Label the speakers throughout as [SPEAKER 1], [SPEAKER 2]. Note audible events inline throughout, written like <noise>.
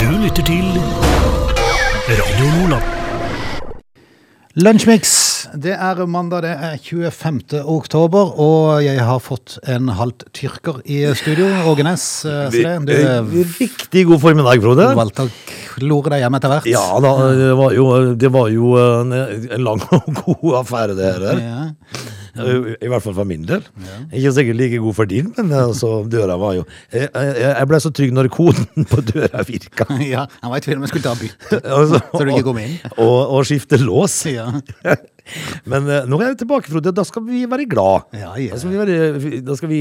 [SPEAKER 1] Du lytter til Radio Nordland.
[SPEAKER 2] Lunsjmix, det er mandag, det er 25. oktober, og jeg har fått en halvt tyrker i studio. Åge Næss, eh, se det. Du eh,
[SPEAKER 3] Eh, Riktig god formiddag, Frode.
[SPEAKER 2] valgte å klore deg hjem etter hvert.
[SPEAKER 3] Ja da, det var jo, det var jo en, en lang og god affære, det her.
[SPEAKER 2] Ja. <laughs>
[SPEAKER 3] I hvert fall for min del. Ikke sikkert like god for din, men altså, døra var jo Jeg, jeg, jeg ble så trygg når koden på døra
[SPEAKER 2] <laughs>
[SPEAKER 3] virka.
[SPEAKER 2] Ja, han var i tvil om jeg skulle ta bytte.
[SPEAKER 3] Altså,
[SPEAKER 2] Så du ikke kom inn?
[SPEAKER 3] Og, og skifte lås.
[SPEAKER 2] Ja.
[SPEAKER 3] <laughs> Men eh, nå er jeg tilbake, Frode. Da skal vi være glad.
[SPEAKER 2] Ja, ja.
[SPEAKER 3] Da, skal vi være, da skal vi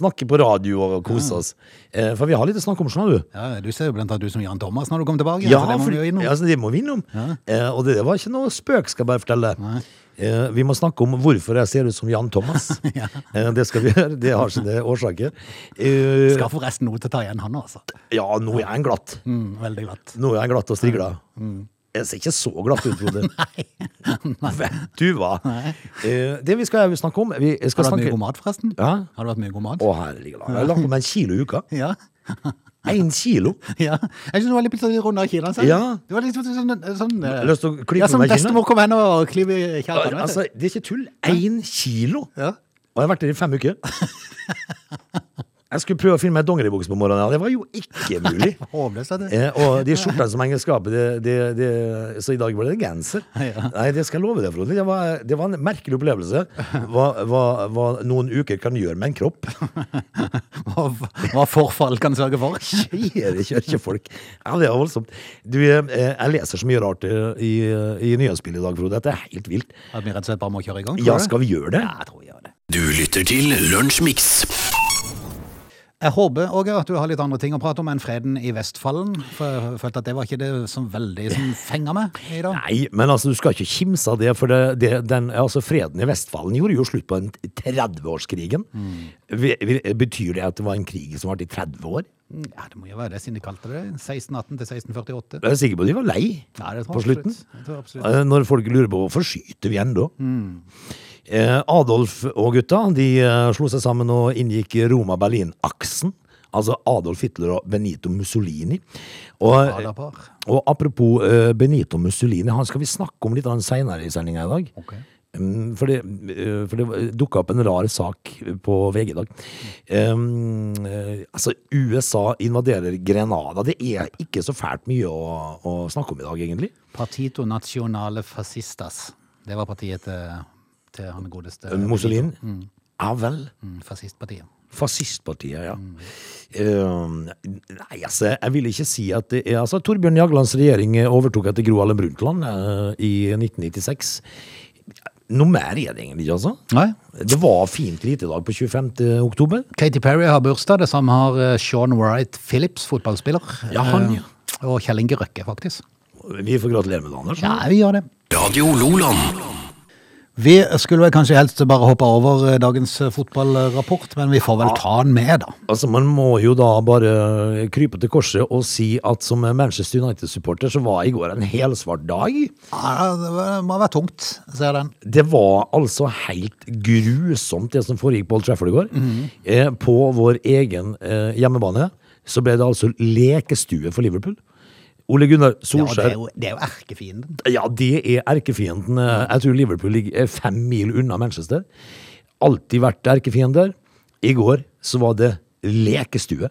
[SPEAKER 3] snakke på radio og kose oss. Eh, For vi har litt å snakke om, skjønner du.
[SPEAKER 2] ja, du ser jo blant annet ut som Jan Thomas når du kommer tilbake.
[SPEAKER 3] Ja,
[SPEAKER 2] så det må
[SPEAKER 3] for-
[SPEAKER 2] vi jo innom.
[SPEAKER 3] ja, så det må vi innom. Eh, og det var ikke noe spøk, skal jeg bare fortelle. Eh, vi må snakke om hvorfor jeg ser ut som Jan Thomas.
[SPEAKER 2] <laughs>
[SPEAKER 3] eh, det skal vi gjøre. Det har sine årsaker. Eh,
[SPEAKER 2] Skal forresten noe til å ta igjen han, altså.
[SPEAKER 3] ja, nå er jeg glatt.
[SPEAKER 2] Mm, veldig glatt.
[SPEAKER 3] Nå er jeg glatt og strigla.
[SPEAKER 2] Mm.
[SPEAKER 3] Jeg ser ikke så glatt ut,
[SPEAKER 2] <laughs>
[SPEAKER 3] Frode. Vet du hva? Eh, det vi skal snakke om vi skal
[SPEAKER 2] Har du hatt mye
[SPEAKER 3] snakke...
[SPEAKER 2] god mat, forresten?
[SPEAKER 3] Ja.
[SPEAKER 2] Har du hatt mye god mat?
[SPEAKER 3] Å, herlig. Jeg har lagt om en kilo i uka.
[SPEAKER 2] <laughs> Ja.
[SPEAKER 3] En kilo.
[SPEAKER 2] Ja. Jeg syns du var litt sånn runda i kilen. Sånn.
[SPEAKER 3] Ja.
[SPEAKER 2] Du var litt sånn, sånn, sånn eh,
[SPEAKER 3] Lyst til å klippe
[SPEAKER 2] Ja, som
[SPEAKER 3] meg i kinnet?
[SPEAKER 2] bestemor kom hen og klippe i kjelken. vet du.
[SPEAKER 3] Altså, det er ikke tull. Én kilo!
[SPEAKER 2] Ja.
[SPEAKER 3] Og jeg har vært der i fem uker. Jeg skulle prøve å finne meg dongeribuks på morgenen. ja. Det var jo ikke mulig.
[SPEAKER 2] Håpløst, vet du.
[SPEAKER 3] Eh, og de skjortene som henger i skapet, det, det, det, så i dag ble det genser.
[SPEAKER 2] Ja.
[SPEAKER 3] Nei, det skal jeg love deg, Frode. Det var, det var en merkelig opplevelse. Hva, hva, hva noen uker kan gjøre med en kropp.
[SPEAKER 2] <laughs> Hva, hva forfall kan sørge for.
[SPEAKER 3] Kjære kjørkefolk. Ja, det er voldsomt. Du, eh, jeg leser så mye rart eh, i, i nyhetsbildet i dag, Frode, at det er helt vilt.
[SPEAKER 2] At vi rett og slett bare må kjøre i gang? tror
[SPEAKER 3] Ja,
[SPEAKER 2] du?
[SPEAKER 3] skal vi gjøre det?
[SPEAKER 2] Ja, jeg tror vi gjør det.
[SPEAKER 1] Du lytter til Lunsjmix.
[SPEAKER 2] Jeg håper Åge, at du har litt andre ting å prate om enn freden i Vestfallen. For jeg følte at det var ikke det som veldig som fenga meg i dag.
[SPEAKER 3] Nei, men altså, du skal ikke kimse av det, for det, det, den, altså, freden i Vestfallen gjorde jo slutt på den 30-årskrigen. Vi- vi- Betyr det at det var en krig som varte i 30 år?
[SPEAKER 2] Ja, det må jo være det siden de kalte det 1618 til 1648.
[SPEAKER 3] Jeg er sikker på at de var lei
[SPEAKER 2] Ja, det tror jeg
[SPEAKER 3] på
[SPEAKER 2] absolutt.
[SPEAKER 3] slutten.
[SPEAKER 2] Jeg tror absolutt.
[SPEAKER 3] Eh, Når folk lurer på hvorfor skyter vi ennå? Eh, Adolf og gutta de eh, slo seg sammen og inngikk Roma-Berlin-aksen. Altså Adolf Hitler og Benito Mussolini. Og,
[SPEAKER 2] Radarpar.
[SPEAKER 3] og apropos eh, Benito Mussolini, han skal vi snakke om litt seinere i sendinga i dag.
[SPEAKER 2] Ok.
[SPEAKER 3] Mm, For det, eh, for det dukka opp en rar sak på VG i dag. Um, eh, altså, USA invaderer Grenada. Det er ikke så fælt mye å, å snakke om i dag, egentlig.
[SPEAKER 2] Partito Nationale Fascistas. Det var partiet til, til han godeste
[SPEAKER 3] Mussolini. Ja vel.
[SPEAKER 2] Mm, Fascistpartiet.
[SPEAKER 3] Fascistpartiet, ja. Um, nei, altså, jeg vil ikke si at det er altså, Torbjørn Jaglands regjering overtok etter Gro Harlem Brundtland eh, i 1996. Noe mer er det egentlig ikke, altså.
[SPEAKER 2] Nei.
[SPEAKER 3] Det var fint lite i dag på 25. oktober.
[SPEAKER 2] Katy Perry har bursdag, det samme har eh, Sean Wright Phillips, fotballspiller.
[SPEAKER 3] Ja, han, ja.
[SPEAKER 2] Eh, Og Kjell Inge Røkke, faktisk.
[SPEAKER 3] Vi får gratulere med det, Anders.
[SPEAKER 2] Ja, vi gjør det.
[SPEAKER 1] Radio Loland.
[SPEAKER 2] Vi skulle vel kanskje helst bare hoppe over eh, dagens eh, fotballrapport, men vi får vel ta den med, da.
[SPEAKER 3] Altså, Man må jo da bare krype til korset og si at som Manchester United-supporter så var i går en helsvart dag.
[SPEAKER 2] Ja, det var- må ha vært tungt, ser den.
[SPEAKER 3] Det var altså helt grusomt det som foregikk på Old Trafford i går. eh, på vår egen eh, hjemmebane så ble det altså lekestue for Liverpool. Ole Gunnar
[SPEAKER 2] Ja, det, er
[SPEAKER 3] Solskjær
[SPEAKER 2] jo, det er jo erkefienden.
[SPEAKER 3] Ja, det er erkefienden. Eh, Jeg tror Liverpool ligger eh, fem mil unna Manchester. Alltid vært erkefiender. I går så var det lekestue.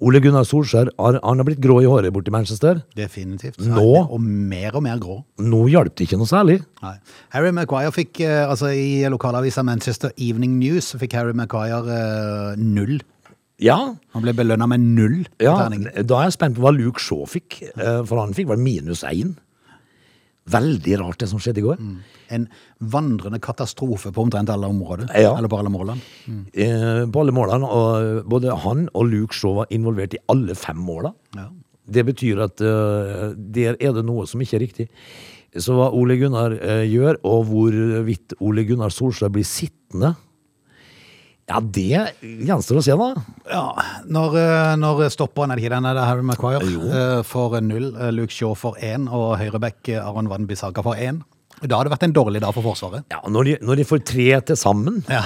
[SPEAKER 3] Ole Gunnar Solskjær har, han har blitt grå i håret borti Manchester.
[SPEAKER 2] Definitivt.
[SPEAKER 3] Nå?
[SPEAKER 2] Og mer og mer grå.
[SPEAKER 3] Nå hjalp det ikke noe særlig.
[SPEAKER 2] Nei. Harry Maguire fikk, eh, altså i lokalavisa Manchester Evening News, så fikk Harry Maguire eh, null.
[SPEAKER 3] Ja,
[SPEAKER 2] Han ble belønna med null på
[SPEAKER 3] ja
[SPEAKER 2] terningen.
[SPEAKER 3] da er jeg spent på hva Luke Shaw fikk. eh, For han fikk vel minus én. Veldig rart det som skjedde i går.
[SPEAKER 2] Mm. En vandrende katastrofe på omtrent alle områder.
[SPEAKER 3] Ja.
[SPEAKER 2] Eller på alle målene.
[SPEAKER 3] Eh, På alle målene. Og både han og Luke Shaw var involvert i alle fem måla.
[SPEAKER 2] Ja.
[SPEAKER 3] Det betyr at eh, der er det noe som ikke er riktig. Så hva Ole Gunnar eh, gjør, og hvorvidt Ole Gunnar Solskjær blir sittende Ja, det gjenstår å se, da.
[SPEAKER 2] Ja, når, eh, når stopper han, er det ikke denne der Harry Maguire?
[SPEAKER 3] Jo.
[SPEAKER 2] eh, For null, eh, Luke Shaw for én, og høyreback eh, Aron Van Bissaka for én. Da hadde det vært en dårlig dag for Forsvaret. <laughs>
[SPEAKER 3] Ja, når de, når de får tre til sammen
[SPEAKER 2] Ja,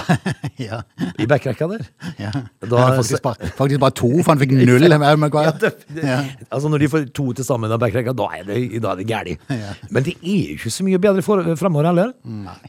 [SPEAKER 2] ja,
[SPEAKER 3] i backrekka der
[SPEAKER 2] ja.
[SPEAKER 3] Da-
[SPEAKER 2] Ja, faktisk, bare, faktisk bare to, for han fikk null. med
[SPEAKER 3] <laughs> ja,
[SPEAKER 2] Maguire.
[SPEAKER 3] det, det, Altså Når de får to til sammen av backrekka, da er det, da er det gærlig.
[SPEAKER 2] Ja.
[SPEAKER 3] Men det er jo ikke så mye bedre for, eh, fremover heller.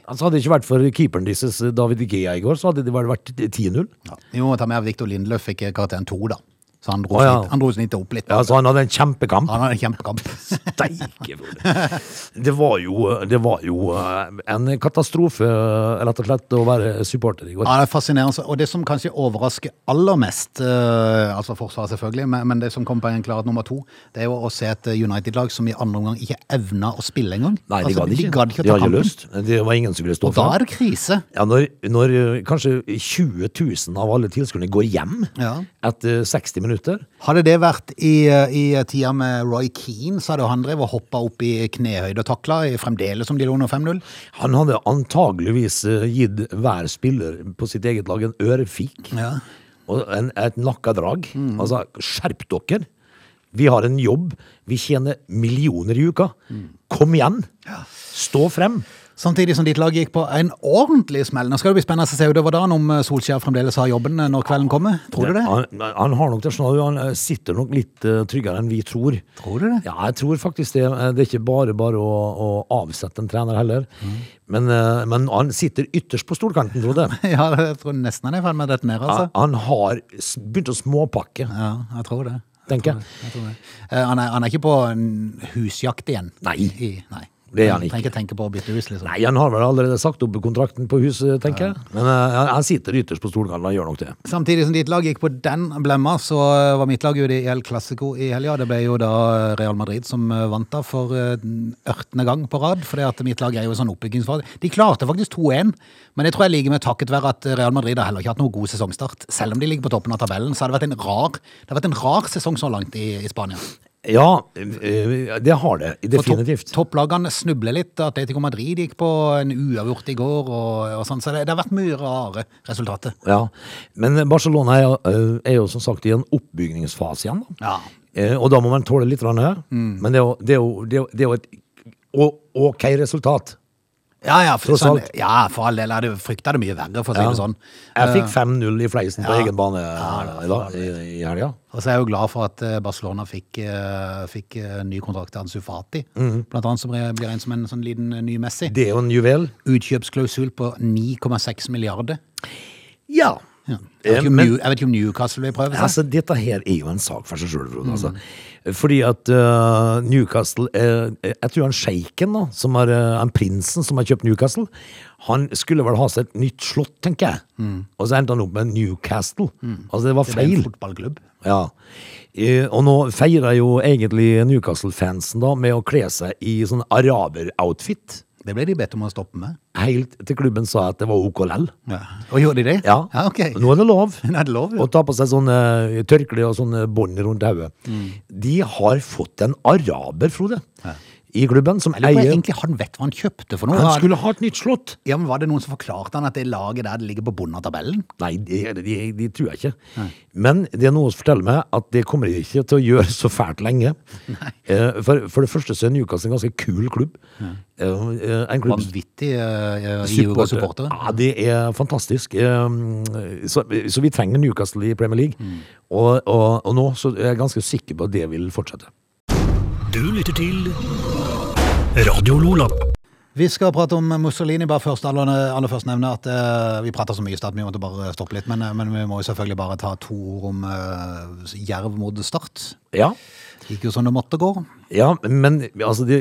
[SPEAKER 3] Altså Hadde det ikke vært for keeperen deres, David Gea, i går, så hadde det vel vært 10-0.
[SPEAKER 2] Ja. Vi må ta med at Victor Lindløf fikk karakteren to, da. Så han dro,
[SPEAKER 3] Å, ja.
[SPEAKER 2] snitt, han dro snittet opp litt.
[SPEAKER 3] Ja, så han hadde en kjempekamp.
[SPEAKER 2] Han hadde en kjempekamp.
[SPEAKER 3] Steike, Frode. Det var jo, det var jo eh, en katastrofe, eh, rett og slett, å være supporter i går.
[SPEAKER 2] Ja, det er fascinerende. Og det som kanskje overrasker aller mest, eh, altså Forsvaret selvfølgelig, men, men det som kom på en klarhet nummer to, det er jo å se et United-lag som i andre omgang ikke evna å spille engang.
[SPEAKER 3] Nei,
[SPEAKER 2] altså,
[SPEAKER 3] de gadd ikke.
[SPEAKER 2] De gadd ikke å
[SPEAKER 3] De
[SPEAKER 2] ta
[SPEAKER 3] hadde ikke
[SPEAKER 2] kampen.
[SPEAKER 3] lyst. Det var ingen som ville stå
[SPEAKER 2] Og da
[SPEAKER 3] for
[SPEAKER 2] er
[SPEAKER 3] det.
[SPEAKER 2] det krise.
[SPEAKER 3] Ja, når, når eh, kanskje 20 000 av alle tilskuerne går hjem
[SPEAKER 2] Ja.
[SPEAKER 3] etter 60 minutter
[SPEAKER 2] Hadde det vært i, eh, i tida med Roy Keane, så hadde han drevet og hoppa opp i knehøyde og takla, eh, fremdeles om de lå under 5-0.
[SPEAKER 3] Han hadde antageligvis eh, gitt hver spiller på sitt eget lag en ørefik
[SPEAKER 2] Ja.
[SPEAKER 3] og en, et nakkadrag. Altså, skjerp dere! Vi har en jobb. Vi tjener millioner i uka. Kom igjen! Stå frem!
[SPEAKER 2] Samtidig som ditt lag gikk på en ordentlig smell. Nå skal det bli spennende å se utover dagen om eh, Solskjær fremdeles har jobben eh, når kvelden kommer. Tror du det?
[SPEAKER 3] Han, han har nok det sånn, han eh, sitter nok litt eh, tryggere enn vi tror.
[SPEAKER 2] Tror du det?
[SPEAKER 3] Ja, jeg tror faktisk det. Eh, Det er ikke bare bare å, å avsette en trener heller. Men, eh, men han sitter ytterst på stolkanten, Frode.
[SPEAKER 2] Ja, jeg tror nesten han er i ferd med å detonere, <laughs> altså.
[SPEAKER 3] Han, han har s- begynt å småpakke.
[SPEAKER 2] Ja, jeg tror det.
[SPEAKER 3] Tenker jeg.
[SPEAKER 2] Jeg tror det. Eh, han, er, han er ikke på en husjakt igjen?
[SPEAKER 3] Nei.
[SPEAKER 2] I, nei.
[SPEAKER 3] Det er han ikke.
[SPEAKER 2] Trenger ikke tenke på å bytte hus, liksom.
[SPEAKER 3] Nei, han har vel allerede sagt opp kontrakten på huset, tenker jeg. Men eh, han- han sitter ytterst på stolkanten, han gjør nok det.
[SPEAKER 2] Samtidig som ditt lag gikk på den blemma, så eh, var mitt lag ute i El Clásico i helga. Det ble jo da eh, Real Madrid som eh, vant da for eh, den ørtende gang på rad. For mitt lag er jo i sånn oppbyggingsfase. De klarte faktisk 2-1, men det tror jeg ligger med takket være at Real Madrid har heller ikke hatt noen god sesongstart. Selv om de ligger på toppen av tabellen, så har det vært en rar, det har vært en rar sesong så langt i, i Spania.
[SPEAKER 3] Ja, eh, det har det.
[SPEAKER 2] For
[SPEAKER 3] Definitivt.
[SPEAKER 2] Topp, topplagene snubler litt. Atletico Madrid gikk på en uavgjort i går. Og, og sånn, så det, det har vært mye rare resultater.
[SPEAKER 3] Ja, Men Barcelona er, jo- eh, er jo som sagt i en oppbygningsfase igjen. da.
[SPEAKER 2] Ja.
[SPEAKER 3] Eh, Og da må man tåle litt. grann her. Men det er jo, det er jo, det er jo- det er jo et å- OK resultat.
[SPEAKER 2] Ja, ja, for,
[SPEAKER 3] Tross
[SPEAKER 2] sånn,
[SPEAKER 3] alt.
[SPEAKER 2] ja, for all del. Jeg hadde frykta det mye verre, for å si
[SPEAKER 3] Ja.
[SPEAKER 2] det sånn.
[SPEAKER 3] Jeg fikk 5-0 i fleisen på
[SPEAKER 2] ja.
[SPEAKER 3] egen bane eh, i, dag, i, i helga.
[SPEAKER 2] Og så er jeg jo glad for at eh, Barcelona fikk, eh, fikk eh, ny kontrakt til Ansu Fati.
[SPEAKER 3] Mhm.
[SPEAKER 2] Blant annet som blir blir en som en sånn liten eh, ny Messi.
[SPEAKER 3] Det er jo en juvel.
[SPEAKER 2] Utkjøpsklausul på 9,6 milliarder.
[SPEAKER 3] Ja.
[SPEAKER 2] Ja. Jeg, vet ikke om
[SPEAKER 3] Eh, men-
[SPEAKER 2] New, jeg vet ikke om Newcastle vil prøve seg.
[SPEAKER 3] Altså, dette her er jo en sak for seg sjøl, Frode. Altså. Fordi at eh, Newcastle eh, Jeg tror han sjeiken, da, som er, eh, han prinsen som har kjøpt Newcastle, han skulle vel ha seg et nytt slott, tenker jeg. Og så endte han opp med Newcastle. Altså, det var
[SPEAKER 2] Mm. Det er en
[SPEAKER 3] feil.
[SPEAKER 2] fotballklubb.
[SPEAKER 3] Ja. Eh, og nå feirer jo egentlig Newcastle-fansen da med å kle seg i sånn araber-outfit.
[SPEAKER 2] Det ble de bedt om å stoppe med.
[SPEAKER 3] Helt til klubben sa at det var OK lell.
[SPEAKER 2] Ja. Og gjorde de det?
[SPEAKER 3] Ja.
[SPEAKER 2] ja ok.
[SPEAKER 3] Nå er det lov.
[SPEAKER 2] <laughs> Nå er det lov, ja.
[SPEAKER 3] Å ta på seg sånne eh, tørkle og sånne bånd rundt hodet. De har fått en araber, Frode, i klubben, som
[SPEAKER 2] Jeg lurer på
[SPEAKER 3] eier
[SPEAKER 2] egentlig han vet hva han kjøpte for noe.
[SPEAKER 3] Han skulle ha et nytt slott!
[SPEAKER 2] Ja, men Var det noen som forklarte han at det laget der det ligger på bunnen av tabellen?
[SPEAKER 3] Nei, de, de, de tror jeg ikke. Men det er noe som forteller meg at det kommer de ikke til å gjøre så fælt lenge. Eh, For, for det første så er Newcastle en ganske kul klubb. Eh, eh, En klubb
[SPEAKER 2] Vanvittig uh, iver av
[SPEAKER 3] Supporter.
[SPEAKER 2] supportere.
[SPEAKER 3] Ja, det er fantastisk. Um, Så, så vi trenger Newcastle i Premier League. Og, og, og nå så er jeg ganske sikker på at det vil fortsette.
[SPEAKER 1] Du lytter til Radio Lola.
[SPEAKER 2] Vi skal prate om Mussolini. bare først aller, aller først nevne at eh, Vi prater så mye i stad, vi måtte bare stoppe litt. Men, eh, men vi må jo selvfølgelig bare ta to ord om eh, Jerv mot Start.
[SPEAKER 3] Ja,
[SPEAKER 2] Gikk jo som det måtte gå. <laughs>
[SPEAKER 3] ja men altså det,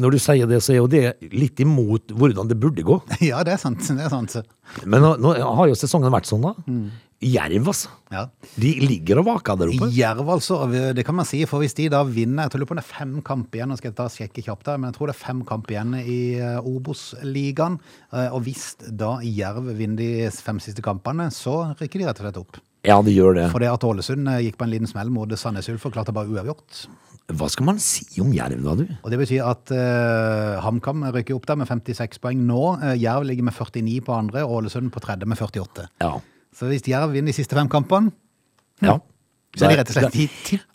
[SPEAKER 3] når du sier det, så er jo det litt imot hvordan det burde gå.
[SPEAKER 2] ja, det er sant. det er sant.
[SPEAKER 3] Men nå, nå har jo sesongen vært sånn, da. Jerv, altså.
[SPEAKER 2] Ja.
[SPEAKER 3] De ligger og vaker der oppe.
[SPEAKER 2] Jerv, altså. Det kan man si. For hvis de da vinner Jeg tror det er fem kamp igjen. Nå skal jeg ta og sjekke kjapt her, men jeg tror det er fem kamp igjen i eh, Obos-ligaen. Eh, Og hvis da Jerv vinner de fem siste kampene, så rykker de rett og slett opp.
[SPEAKER 3] Ja, de gjør det.
[SPEAKER 2] For det at Ålesund eh, gikk på en liten smell mot Sandnes Ulf og klarte bare uavgjort.
[SPEAKER 3] Hva skal man si om Jerv, da, du?
[SPEAKER 2] Og Det betyr at eh, HamKam rykker opp der med 56 poeng nå. Eh, Jerv ligger med 49 på andre, og Ålesund på tredje med 48.
[SPEAKER 3] Ja.
[SPEAKER 2] Så hvis Jerv vinner de siste fem kampene,
[SPEAKER 3] ja.
[SPEAKER 2] Så er de rett og slett i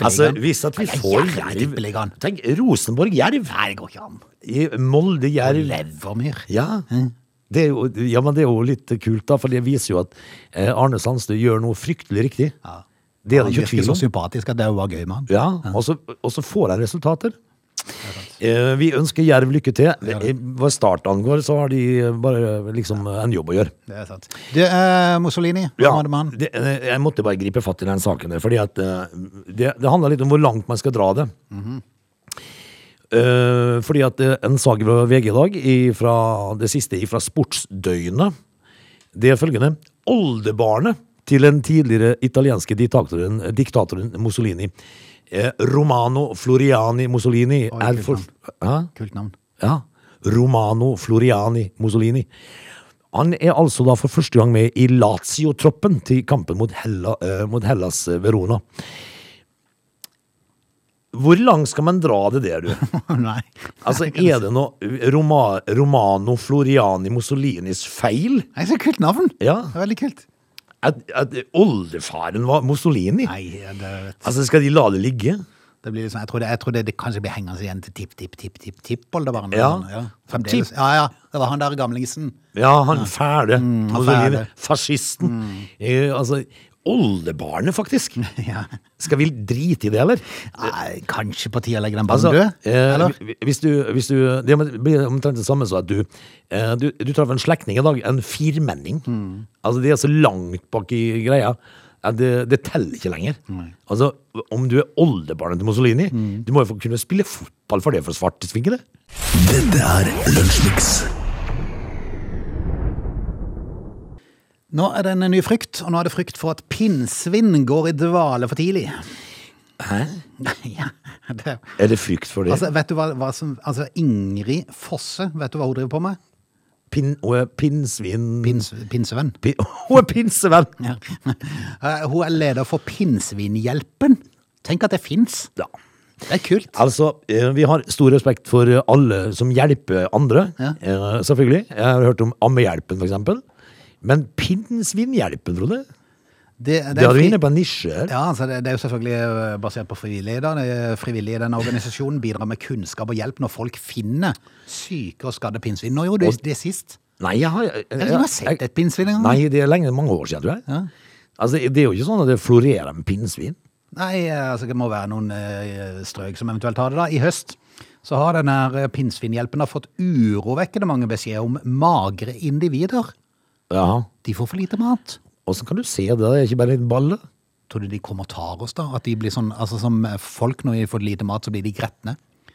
[SPEAKER 3] Altså,
[SPEAKER 2] tippeligaen.
[SPEAKER 3] hvis at vi
[SPEAKER 2] Nei,
[SPEAKER 3] får
[SPEAKER 2] Jerv i
[SPEAKER 3] Jerv
[SPEAKER 2] Tippeligaen.
[SPEAKER 3] Tenk, Rosenborg-Jerv!
[SPEAKER 2] Nei, det går ikke an.
[SPEAKER 3] Molde Jerv.
[SPEAKER 2] Levermyr.
[SPEAKER 3] Ja. Det er jo, ja, men det er jo litt kult, da, for det viser jo at eh, Arne Sandstø gjør noe fryktelig riktig.
[SPEAKER 2] Ja.
[SPEAKER 3] Det sånn. er
[SPEAKER 2] Han
[SPEAKER 3] det ikke
[SPEAKER 2] virker
[SPEAKER 3] tvil
[SPEAKER 2] så
[SPEAKER 3] om.
[SPEAKER 2] sympatisk at det var gøy med han.
[SPEAKER 3] Ja, og så, og så får han resultater. Eh, Vi ønsker Jerv lykke til. Eh, Hva start angår, så har de eh, bare eh, liksom eh, en jobb å gjøre.
[SPEAKER 2] Det er sant. Du, eh, Mussolini, hva
[SPEAKER 3] Ja,
[SPEAKER 2] var det med han?
[SPEAKER 3] det, eh, jeg måtte bare gripe fatt i den saken der, fordi at eh, det, det handler litt om hvor langt man skal dra det.
[SPEAKER 2] Mhm.
[SPEAKER 3] Eh, fordi at eh, en sak fra VG i dag, i fra det siste fra Sportsdøgnet, det er følgende. Oldebarnet til den tidligere italienske diktatoren, diktatoren Mussolini, eh, Romano Floriani Mussolini,
[SPEAKER 2] Oi,
[SPEAKER 3] er
[SPEAKER 2] kult
[SPEAKER 3] for...
[SPEAKER 2] navn.
[SPEAKER 3] Hæ?
[SPEAKER 2] Kult navn. <laughs>
[SPEAKER 3] Ja. Romano Floriani Mussolini. Han er altså da for første gang med i Lazio-troppen til kampen mot, Hella, eh, mot Hellas eh, Verona. Hvor langt skal man dra det der, du?
[SPEAKER 2] Nei.
[SPEAKER 3] Altså, Er det noe Roma, Romano Floriani Mussolinis feil?
[SPEAKER 2] Nei, så kult navn!
[SPEAKER 3] Ja.
[SPEAKER 2] Det er Veldig kult.
[SPEAKER 3] At, at oldefaren var Mussolini?
[SPEAKER 2] Nei, det, vet,
[SPEAKER 3] Altså, Skal de la det ligge?
[SPEAKER 2] det blir liksom, jeg tror det, jeg tror det, det kanskje blir hengende igjen til tipp-tipp-tipp-tipp-tippoldebarnet.
[SPEAKER 3] Ja.
[SPEAKER 2] Ja. Fremdeles. Ja, ja. Det var han der gamlingsen. <laughs>
[SPEAKER 3] Ja, han fæle. Mussolini.
[SPEAKER 2] fæle.
[SPEAKER 3] Fascisten. Eh, altså, Oldebarnet, faktisk.
[SPEAKER 2] <laughs> Ja.
[SPEAKER 3] Skal vi drite i det, eller?
[SPEAKER 2] Nei, kanskje på tide å legge den ballen
[SPEAKER 3] Altså,
[SPEAKER 2] død?
[SPEAKER 3] eh,
[SPEAKER 2] Eller?
[SPEAKER 3] hvi- hvis du, hvis du, det blir omtrent det samme som at du, eh, du, du traff en slektning i dag, en firmenning. Altså, de er så langt bak i greia. at Det, det teller ikke lenger. Altså, Om du er oldebarnet til Mussolini, du må jo få kunne spille fotball for det for svartesvingene.
[SPEAKER 1] Dette er Lunsjmix.
[SPEAKER 2] Nå er det en ny frykt, og nå er det frykt for at pinnsvin går i dvale for tidlig.
[SPEAKER 3] Hæ?
[SPEAKER 2] <laughs> ja, det,
[SPEAKER 3] Er det frykt for det?
[SPEAKER 2] altså, vet du hva, hva som Altså, Ingrid Fosse, vet du hva hun driver på med?
[SPEAKER 3] Pin, og er pinnsvin...
[SPEAKER 2] Pins, pinsevenn.
[SPEAKER 3] Pin, hun er pinsevenn!
[SPEAKER 2] Ja. <laughs> Eh, Hun er leder for Pinnsvinhjelpen. Tenk at det fins!
[SPEAKER 3] Ja.
[SPEAKER 2] Det er kult.
[SPEAKER 3] Altså, eh, vi har stor respekt for eh, alle som hjelper andre,
[SPEAKER 2] Ja.
[SPEAKER 3] eh, selvfølgelig. Jeg har hørt om Ammehjelpen, for eksempel. Men Pinnsvinhjelpen, Frode,
[SPEAKER 2] Det, det
[SPEAKER 3] det
[SPEAKER 2] er
[SPEAKER 3] har vi
[SPEAKER 2] fri-
[SPEAKER 3] inne på en nisje her.
[SPEAKER 2] Ja, altså det, det er jo selvfølgelig eh, basert på frivillige. Da. Det er Frivillige i denne organisasjonen bidrar med kunnskap og hjelp når folk finner syke og skadde pinnsvin. Nå gjorde du det sist.
[SPEAKER 3] Nei, jeg har... Jeg,
[SPEAKER 2] Jeg, jeg har sett et pinnsvin en gang.
[SPEAKER 3] Nei, det er lenge, mange år siden, tror jeg. Altså, det er jo ikke sånn at det florerer med pinnsvin.
[SPEAKER 2] Nei, eh, altså det må være noen eh, strøk som eventuelt har det da. I høst så har denne eh, pinnsvinhjelpen da fått urovekkende mange beskjed om magre individer.
[SPEAKER 3] Jaha.
[SPEAKER 2] De får for lite mat.
[SPEAKER 3] Hvordan kan du se det? Det er ikke bare litt balle.
[SPEAKER 2] Tror du de kommer og tar oss da? At de blir sånn, altså som folk når de får lite mat så blir de gretne.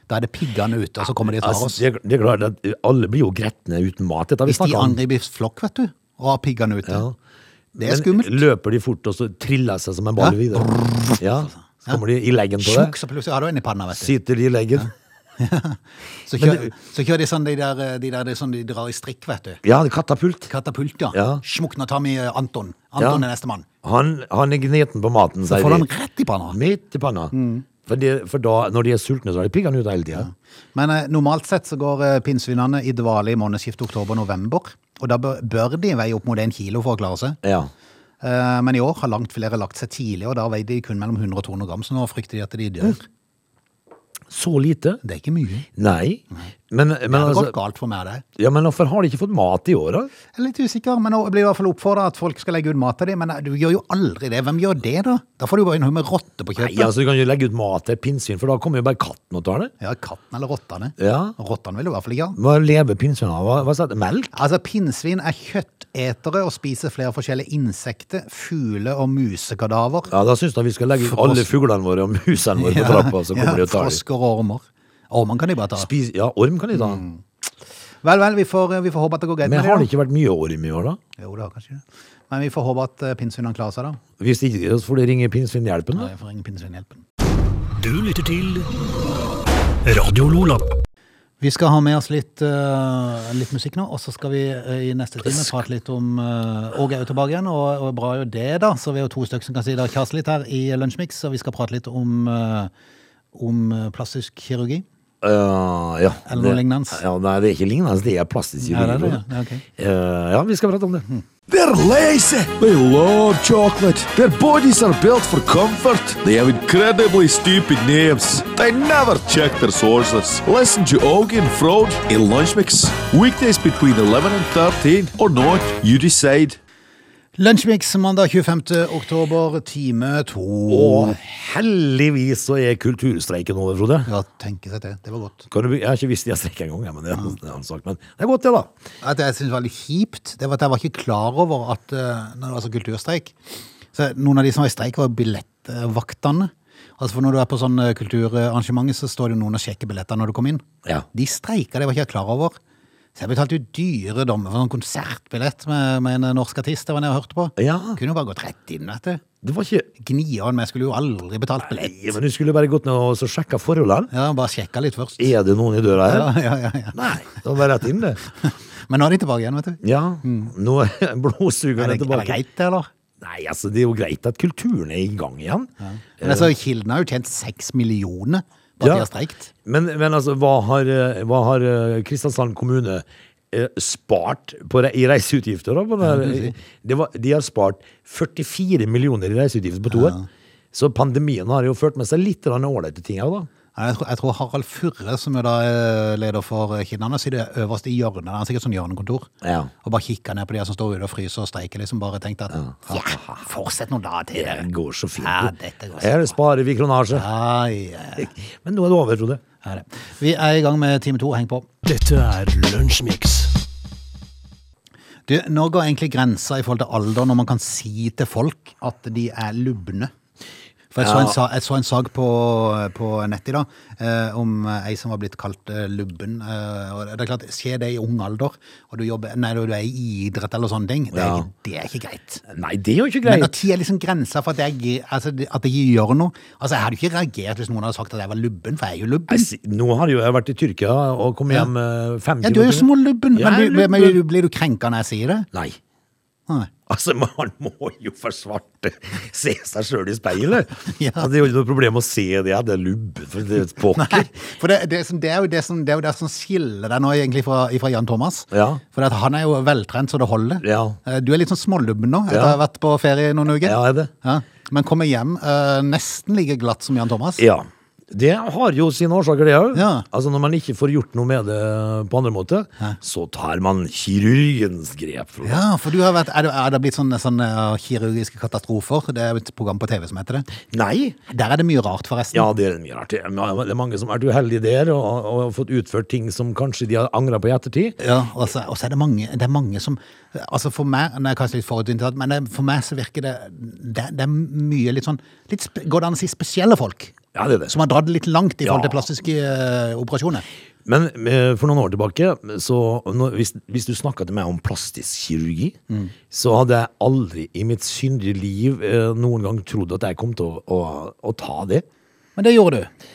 [SPEAKER 2] Da er det piggene ute, og så kommer de og tar
[SPEAKER 3] Altså,
[SPEAKER 2] oss.
[SPEAKER 3] det, er- det er klart at alle blir jo gretne uten mat. Dette har
[SPEAKER 2] Hvis
[SPEAKER 3] vi
[SPEAKER 2] de
[SPEAKER 3] snakket om.
[SPEAKER 2] angriper flokk, vet du, og har piggene ute.
[SPEAKER 3] Ja.
[SPEAKER 2] Det er
[SPEAKER 3] Men
[SPEAKER 2] skummelt.
[SPEAKER 3] Løper de fort, og så triller seg som en ball
[SPEAKER 2] Ja.
[SPEAKER 3] videre. Ja. Så kommer de i leggen på
[SPEAKER 2] Sjukk,
[SPEAKER 3] deg.
[SPEAKER 2] så plutselig har du en i panna, vet du.
[SPEAKER 3] Sitter de i leggen.
[SPEAKER 2] Så kjører, så kjører de sånn de der, eh, de der det er sånn de drar i strikk, vet du.
[SPEAKER 3] Ja, katapult.
[SPEAKER 2] Katapult, ja.
[SPEAKER 3] Ja.
[SPEAKER 2] Smukk, nå tar vi eh, Anton. Anton
[SPEAKER 3] Ja.
[SPEAKER 2] er nestemann.
[SPEAKER 3] Han, han er gneten på maten,
[SPEAKER 2] Så
[SPEAKER 3] sier
[SPEAKER 2] får du
[SPEAKER 3] de.
[SPEAKER 2] den rett i panna.
[SPEAKER 3] Midt i panna. For, det, for da, når de er sultne, så har de piggene ute hele tida.
[SPEAKER 2] Men eh, normalt sett så går eh, pinnsvinene i dvale i månedsskiftet oktober-november. Og da bør, bør de veie opp mot en kilo for å klare seg.
[SPEAKER 3] Ja.
[SPEAKER 2] Eh, men i år har langt flere lagt seg tidlig, og da veier de kun mellom 100 og 200 gram. Så nå frykter de at de dør.
[SPEAKER 3] Hm. Så lite?
[SPEAKER 2] Det er ikke mye.
[SPEAKER 3] Nei. Men, men,
[SPEAKER 2] Det har gått
[SPEAKER 3] altså,
[SPEAKER 2] galt for meg, det.
[SPEAKER 3] ja, men hvorfor har de ikke fått mat i år, da?
[SPEAKER 2] Jeg er litt usikker, men nå blir jeg i hvert fall oppfordra at folk skal legge ut mat til dem. Men eh, du gjør jo aldri det. Hvem gjør det, da? Da får du bare en haug med rotter på
[SPEAKER 3] Nei,
[SPEAKER 2] kjøpet.
[SPEAKER 3] altså, Du kan jo legge ut mat til et pinnsvin, for da kommer jo bare katten og tar det.
[SPEAKER 2] Ja, katten eller rottene.
[SPEAKER 3] Ja.
[SPEAKER 2] Rottene vil du i hvert fall ikke ha.
[SPEAKER 3] Hva lever pinnsvin av? Hva, hva sa jeg? Melk?
[SPEAKER 2] Altså, Pinnsvin er kjøttetere og spiser flere forskjellige insekter, fugle- og musekadaver.
[SPEAKER 3] Ja, Da syns jeg vi skal legge ut
[SPEAKER 2] Frosk.
[SPEAKER 3] alle fuglene våre og musene våre på trappa, så kommer de og tar dem.
[SPEAKER 2] Frosker og ormer. Ormene kan de bare ta.
[SPEAKER 3] Spis, ja, orm kan de ta.
[SPEAKER 2] Vel, vel, vi får, vi får håpe at det går greit
[SPEAKER 3] Mm. Men
[SPEAKER 2] med
[SPEAKER 3] har det
[SPEAKER 2] det.
[SPEAKER 3] ikke vært mye orm i år, da?
[SPEAKER 2] da. Jo, det har kanskje det. Men vi får håpe at eh, pinnsvinene klarer seg, da.
[SPEAKER 3] Hvis ikke, så får de ringe Pinnsvinhjelpen, da.
[SPEAKER 2] Nei, Jeg får ringe pinnsvinhjelpen.
[SPEAKER 1] Du lytter til Radio Lola.
[SPEAKER 2] Vi skal ha med oss litt, eh, litt musikk nå, og så skal vi eh, i neste time prate litt om eh, Åge er jo tilbake igjen, og, og bra er jo det, da. Så vi er jo to stykker som kan si det og kjase litt her i Lunsjmix, og vi skal prate litt om, eh, om eh, plastisk kirurgi.
[SPEAKER 3] Eh, ja.
[SPEAKER 2] Eller noe
[SPEAKER 3] Det-
[SPEAKER 2] lignende.
[SPEAKER 3] Ja, nei, det er ikke lignende, det er plastisk
[SPEAKER 2] Ja, det er
[SPEAKER 3] kirurgi.
[SPEAKER 2] det,
[SPEAKER 3] tror jeg.
[SPEAKER 2] ja. Ja, ok. Mm.
[SPEAKER 3] Eh, ja, vi skal prate om det.
[SPEAKER 4] They're lazy. They love chocolate. Their bodies are built for comfort. They have incredibly stupid names. They never check their sources. Listen to Augie and Frode in Lunch Mix. Weekdays between 11 and 13 or not, you decide.
[SPEAKER 2] Lunsjmix mandag 25. oktober, time to.
[SPEAKER 3] Og heldigvis så er kulturstreiken over, Frode.
[SPEAKER 2] Ja, tenke seg til. Det var godt.
[SPEAKER 3] Kan du, jeg har ikke visst de har streik engang, jeg, men det,
[SPEAKER 2] Mm.
[SPEAKER 3] det er en sak. Men det er godt, det, da.
[SPEAKER 2] At jeg synes det var litt kjipt, det var at jeg var ikke klar over at eh, når det var så kulturstreik så Noen av de som var i streik, var billettvaktene. Altså for Når du er på sånn eh, kulturarrangement, så står det jo noen og sjekker billetter når du kommer inn.
[SPEAKER 3] Ja.
[SPEAKER 2] De streika, det var ikke jeg klar over. Så jeg betalte jo dyre dommer for sånn konsertbillett med, med en norsk artist jeg var nede og hørte på.
[SPEAKER 3] Ja.
[SPEAKER 2] Kunne jo bare gått rett inn, vet du.
[SPEAKER 3] Det var ikke
[SPEAKER 2] Gnian, men jeg skulle jo aldri betalt billett.
[SPEAKER 3] Nei, men du skulle bare gått ned og så sjekka forholdene.
[SPEAKER 2] Ja, bare sjekka litt først.
[SPEAKER 3] Er det noen i døra her?
[SPEAKER 2] <laughs> Ja, ja, ja, ja.
[SPEAKER 3] Nei. Det var rett inn, det.
[SPEAKER 2] Men nå er de tilbake igjen, vet du.
[SPEAKER 3] Ja. Nå er <laughs>
[SPEAKER 2] Er det, Mm.
[SPEAKER 3] blodsugerne
[SPEAKER 2] er det
[SPEAKER 3] tilbake.
[SPEAKER 2] greit, det, eller?
[SPEAKER 3] Nei, altså, det er jo greit at kulturen er i gang igjen.
[SPEAKER 2] Men altså, Kilden har jo tjent seks millioner på at
[SPEAKER 3] Eh. Ja.
[SPEAKER 2] de har streikt.
[SPEAKER 3] Men, men altså, hva har, eh, hva har eh, Kristiansand kommune eh, spart på, re- i reiseutgifter? Da, på det her? det var, de har spart 44 millioner i reiseutgifter på to år. Så pandemien har jo ført med seg litt grann ålreite ting òg, da.
[SPEAKER 2] Ja, Jeg tror, jeg tror Harald Furre, som jo da er leder for eh, Kilden, han sitter øverst i hjørnet. Han har sikkert sånn hjørnekontor.
[SPEAKER 3] Ja.
[SPEAKER 2] Og bare kikker ned på de her som står ute og fryser og streiker, liksom. Bare tenkte at ja, fortsett noen dager til.
[SPEAKER 3] Det
[SPEAKER 2] dere.
[SPEAKER 3] går så fint.
[SPEAKER 2] Ja,
[SPEAKER 3] du.
[SPEAKER 2] dette går så
[SPEAKER 3] Her sparer vi kronasje.
[SPEAKER 2] Ai, ja, ja.
[SPEAKER 3] Men nå er det over, Frode.
[SPEAKER 2] Ja, det. Vi er i gang med time to. Heng på.
[SPEAKER 1] Dette er Lunsjmix.
[SPEAKER 2] Du, Når går egentlig grensa i forhold til alder, når man kan si til folk at de er lubne? For jeg så,
[SPEAKER 3] Ja.
[SPEAKER 2] en, sa- jeg så en sag på, på nettet i dag eh, om ei som var blitt kalt eh, lubben. Eh, og det er klart, Skjer det i ung alder, og du, jobber, nei, du er i idrett eller sånne ting, det er,
[SPEAKER 3] Ja.
[SPEAKER 2] ikke- det er ikke greit.
[SPEAKER 3] Nei, det er jo ikke
[SPEAKER 2] Men
[SPEAKER 3] greit.
[SPEAKER 2] når er liksom grensa for at jeg, gi- altså, det- at jeg gjør noe? Altså, Jeg hadde ikke reagert hvis noen hadde sagt at jeg var lubben, for jeg er jo
[SPEAKER 3] Nei,
[SPEAKER 2] lubben.
[SPEAKER 3] si- Nå har jo jeg vært i Tyrkia og kommet
[SPEAKER 2] Ja.
[SPEAKER 3] hjem eh, fem
[SPEAKER 2] Ja, Du er jo
[SPEAKER 3] timer.
[SPEAKER 2] smålubben,
[SPEAKER 3] Jeg
[SPEAKER 2] men,
[SPEAKER 3] er
[SPEAKER 2] du- men
[SPEAKER 3] lubben.
[SPEAKER 2] du- blir du krenka når jeg sier det?
[SPEAKER 3] Nei.
[SPEAKER 2] Nei.
[SPEAKER 3] Altså, man må jo for svarte se seg sjøl i speilet.
[SPEAKER 2] <laughs> Ja.
[SPEAKER 3] Altså, det er jo ikke noe problem å se det, ja, det er lubbe, for det er pokker.
[SPEAKER 2] Nei, for det, det, som, det, er jo det, som, det er jo det som skiller deg nå egentlig fra, fra Jan Thomas.
[SPEAKER 3] Ja.
[SPEAKER 2] For at han er jo veltrent så det holder.
[SPEAKER 3] Ja.
[SPEAKER 2] Eh, Du er litt sånn smålubben nå, etter
[SPEAKER 3] Ja.
[SPEAKER 2] å ha vært på ferie i noen uker.
[SPEAKER 3] Ja, er det?
[SPEAKER 2] Ja. Men kommer hjem eh, nesten like glatt som Jan Thomas.
[SPEAKER 3] Ja. Det har jo sine årsaker, det òg.
[SPEAKER 2] Ja.
[SPEAKER 3] Altså, når man ikke får gjort noe med det på andre måter, så tar man kirurgens grep. Frode.
[SPEAKER 2] Ja, for du har vært, er det, er det blitt sånne, sånne eh, kirurgiske katastrofer? Det er jo et program på TV som heter det.
[SPEAKER 3] Nei.
[SPEAKER 2] Der er det mye rart, forresten.
[SPEAKER 3] Ja, det er mye rart. Det er det er mange som har vært uheldige der og, og har fått utført ting som kanskje de har angra på i ettertid.
[SPEAKER 2] Ja, og så, og så er det mange, det er mange som Altså for meg, nå er jeg kanskje litt forutinntatt, men det, for meg så virker det Det, det er mye litt sånn litt, spe- Går det an å si spesielle folk?
[SPEAKER 3] Ja, det er det.
[SPEAKER 2] Som har dratt det litt langt i forhold til
[SPEAKER 3] Ja.
[SPEAKER 2] plastiske eh, operasjoner.
[SPEAKER 3] Men eh, for noen år tilbake, så når, hvis, hvis du snakka til meg om plastisk kirurgi, så hadde jeg aldri i mitt syndige liv eh, noen gang trodd at jeg kom til å, å, å ta det.
[SPEAKER 2] Men det gjorde du.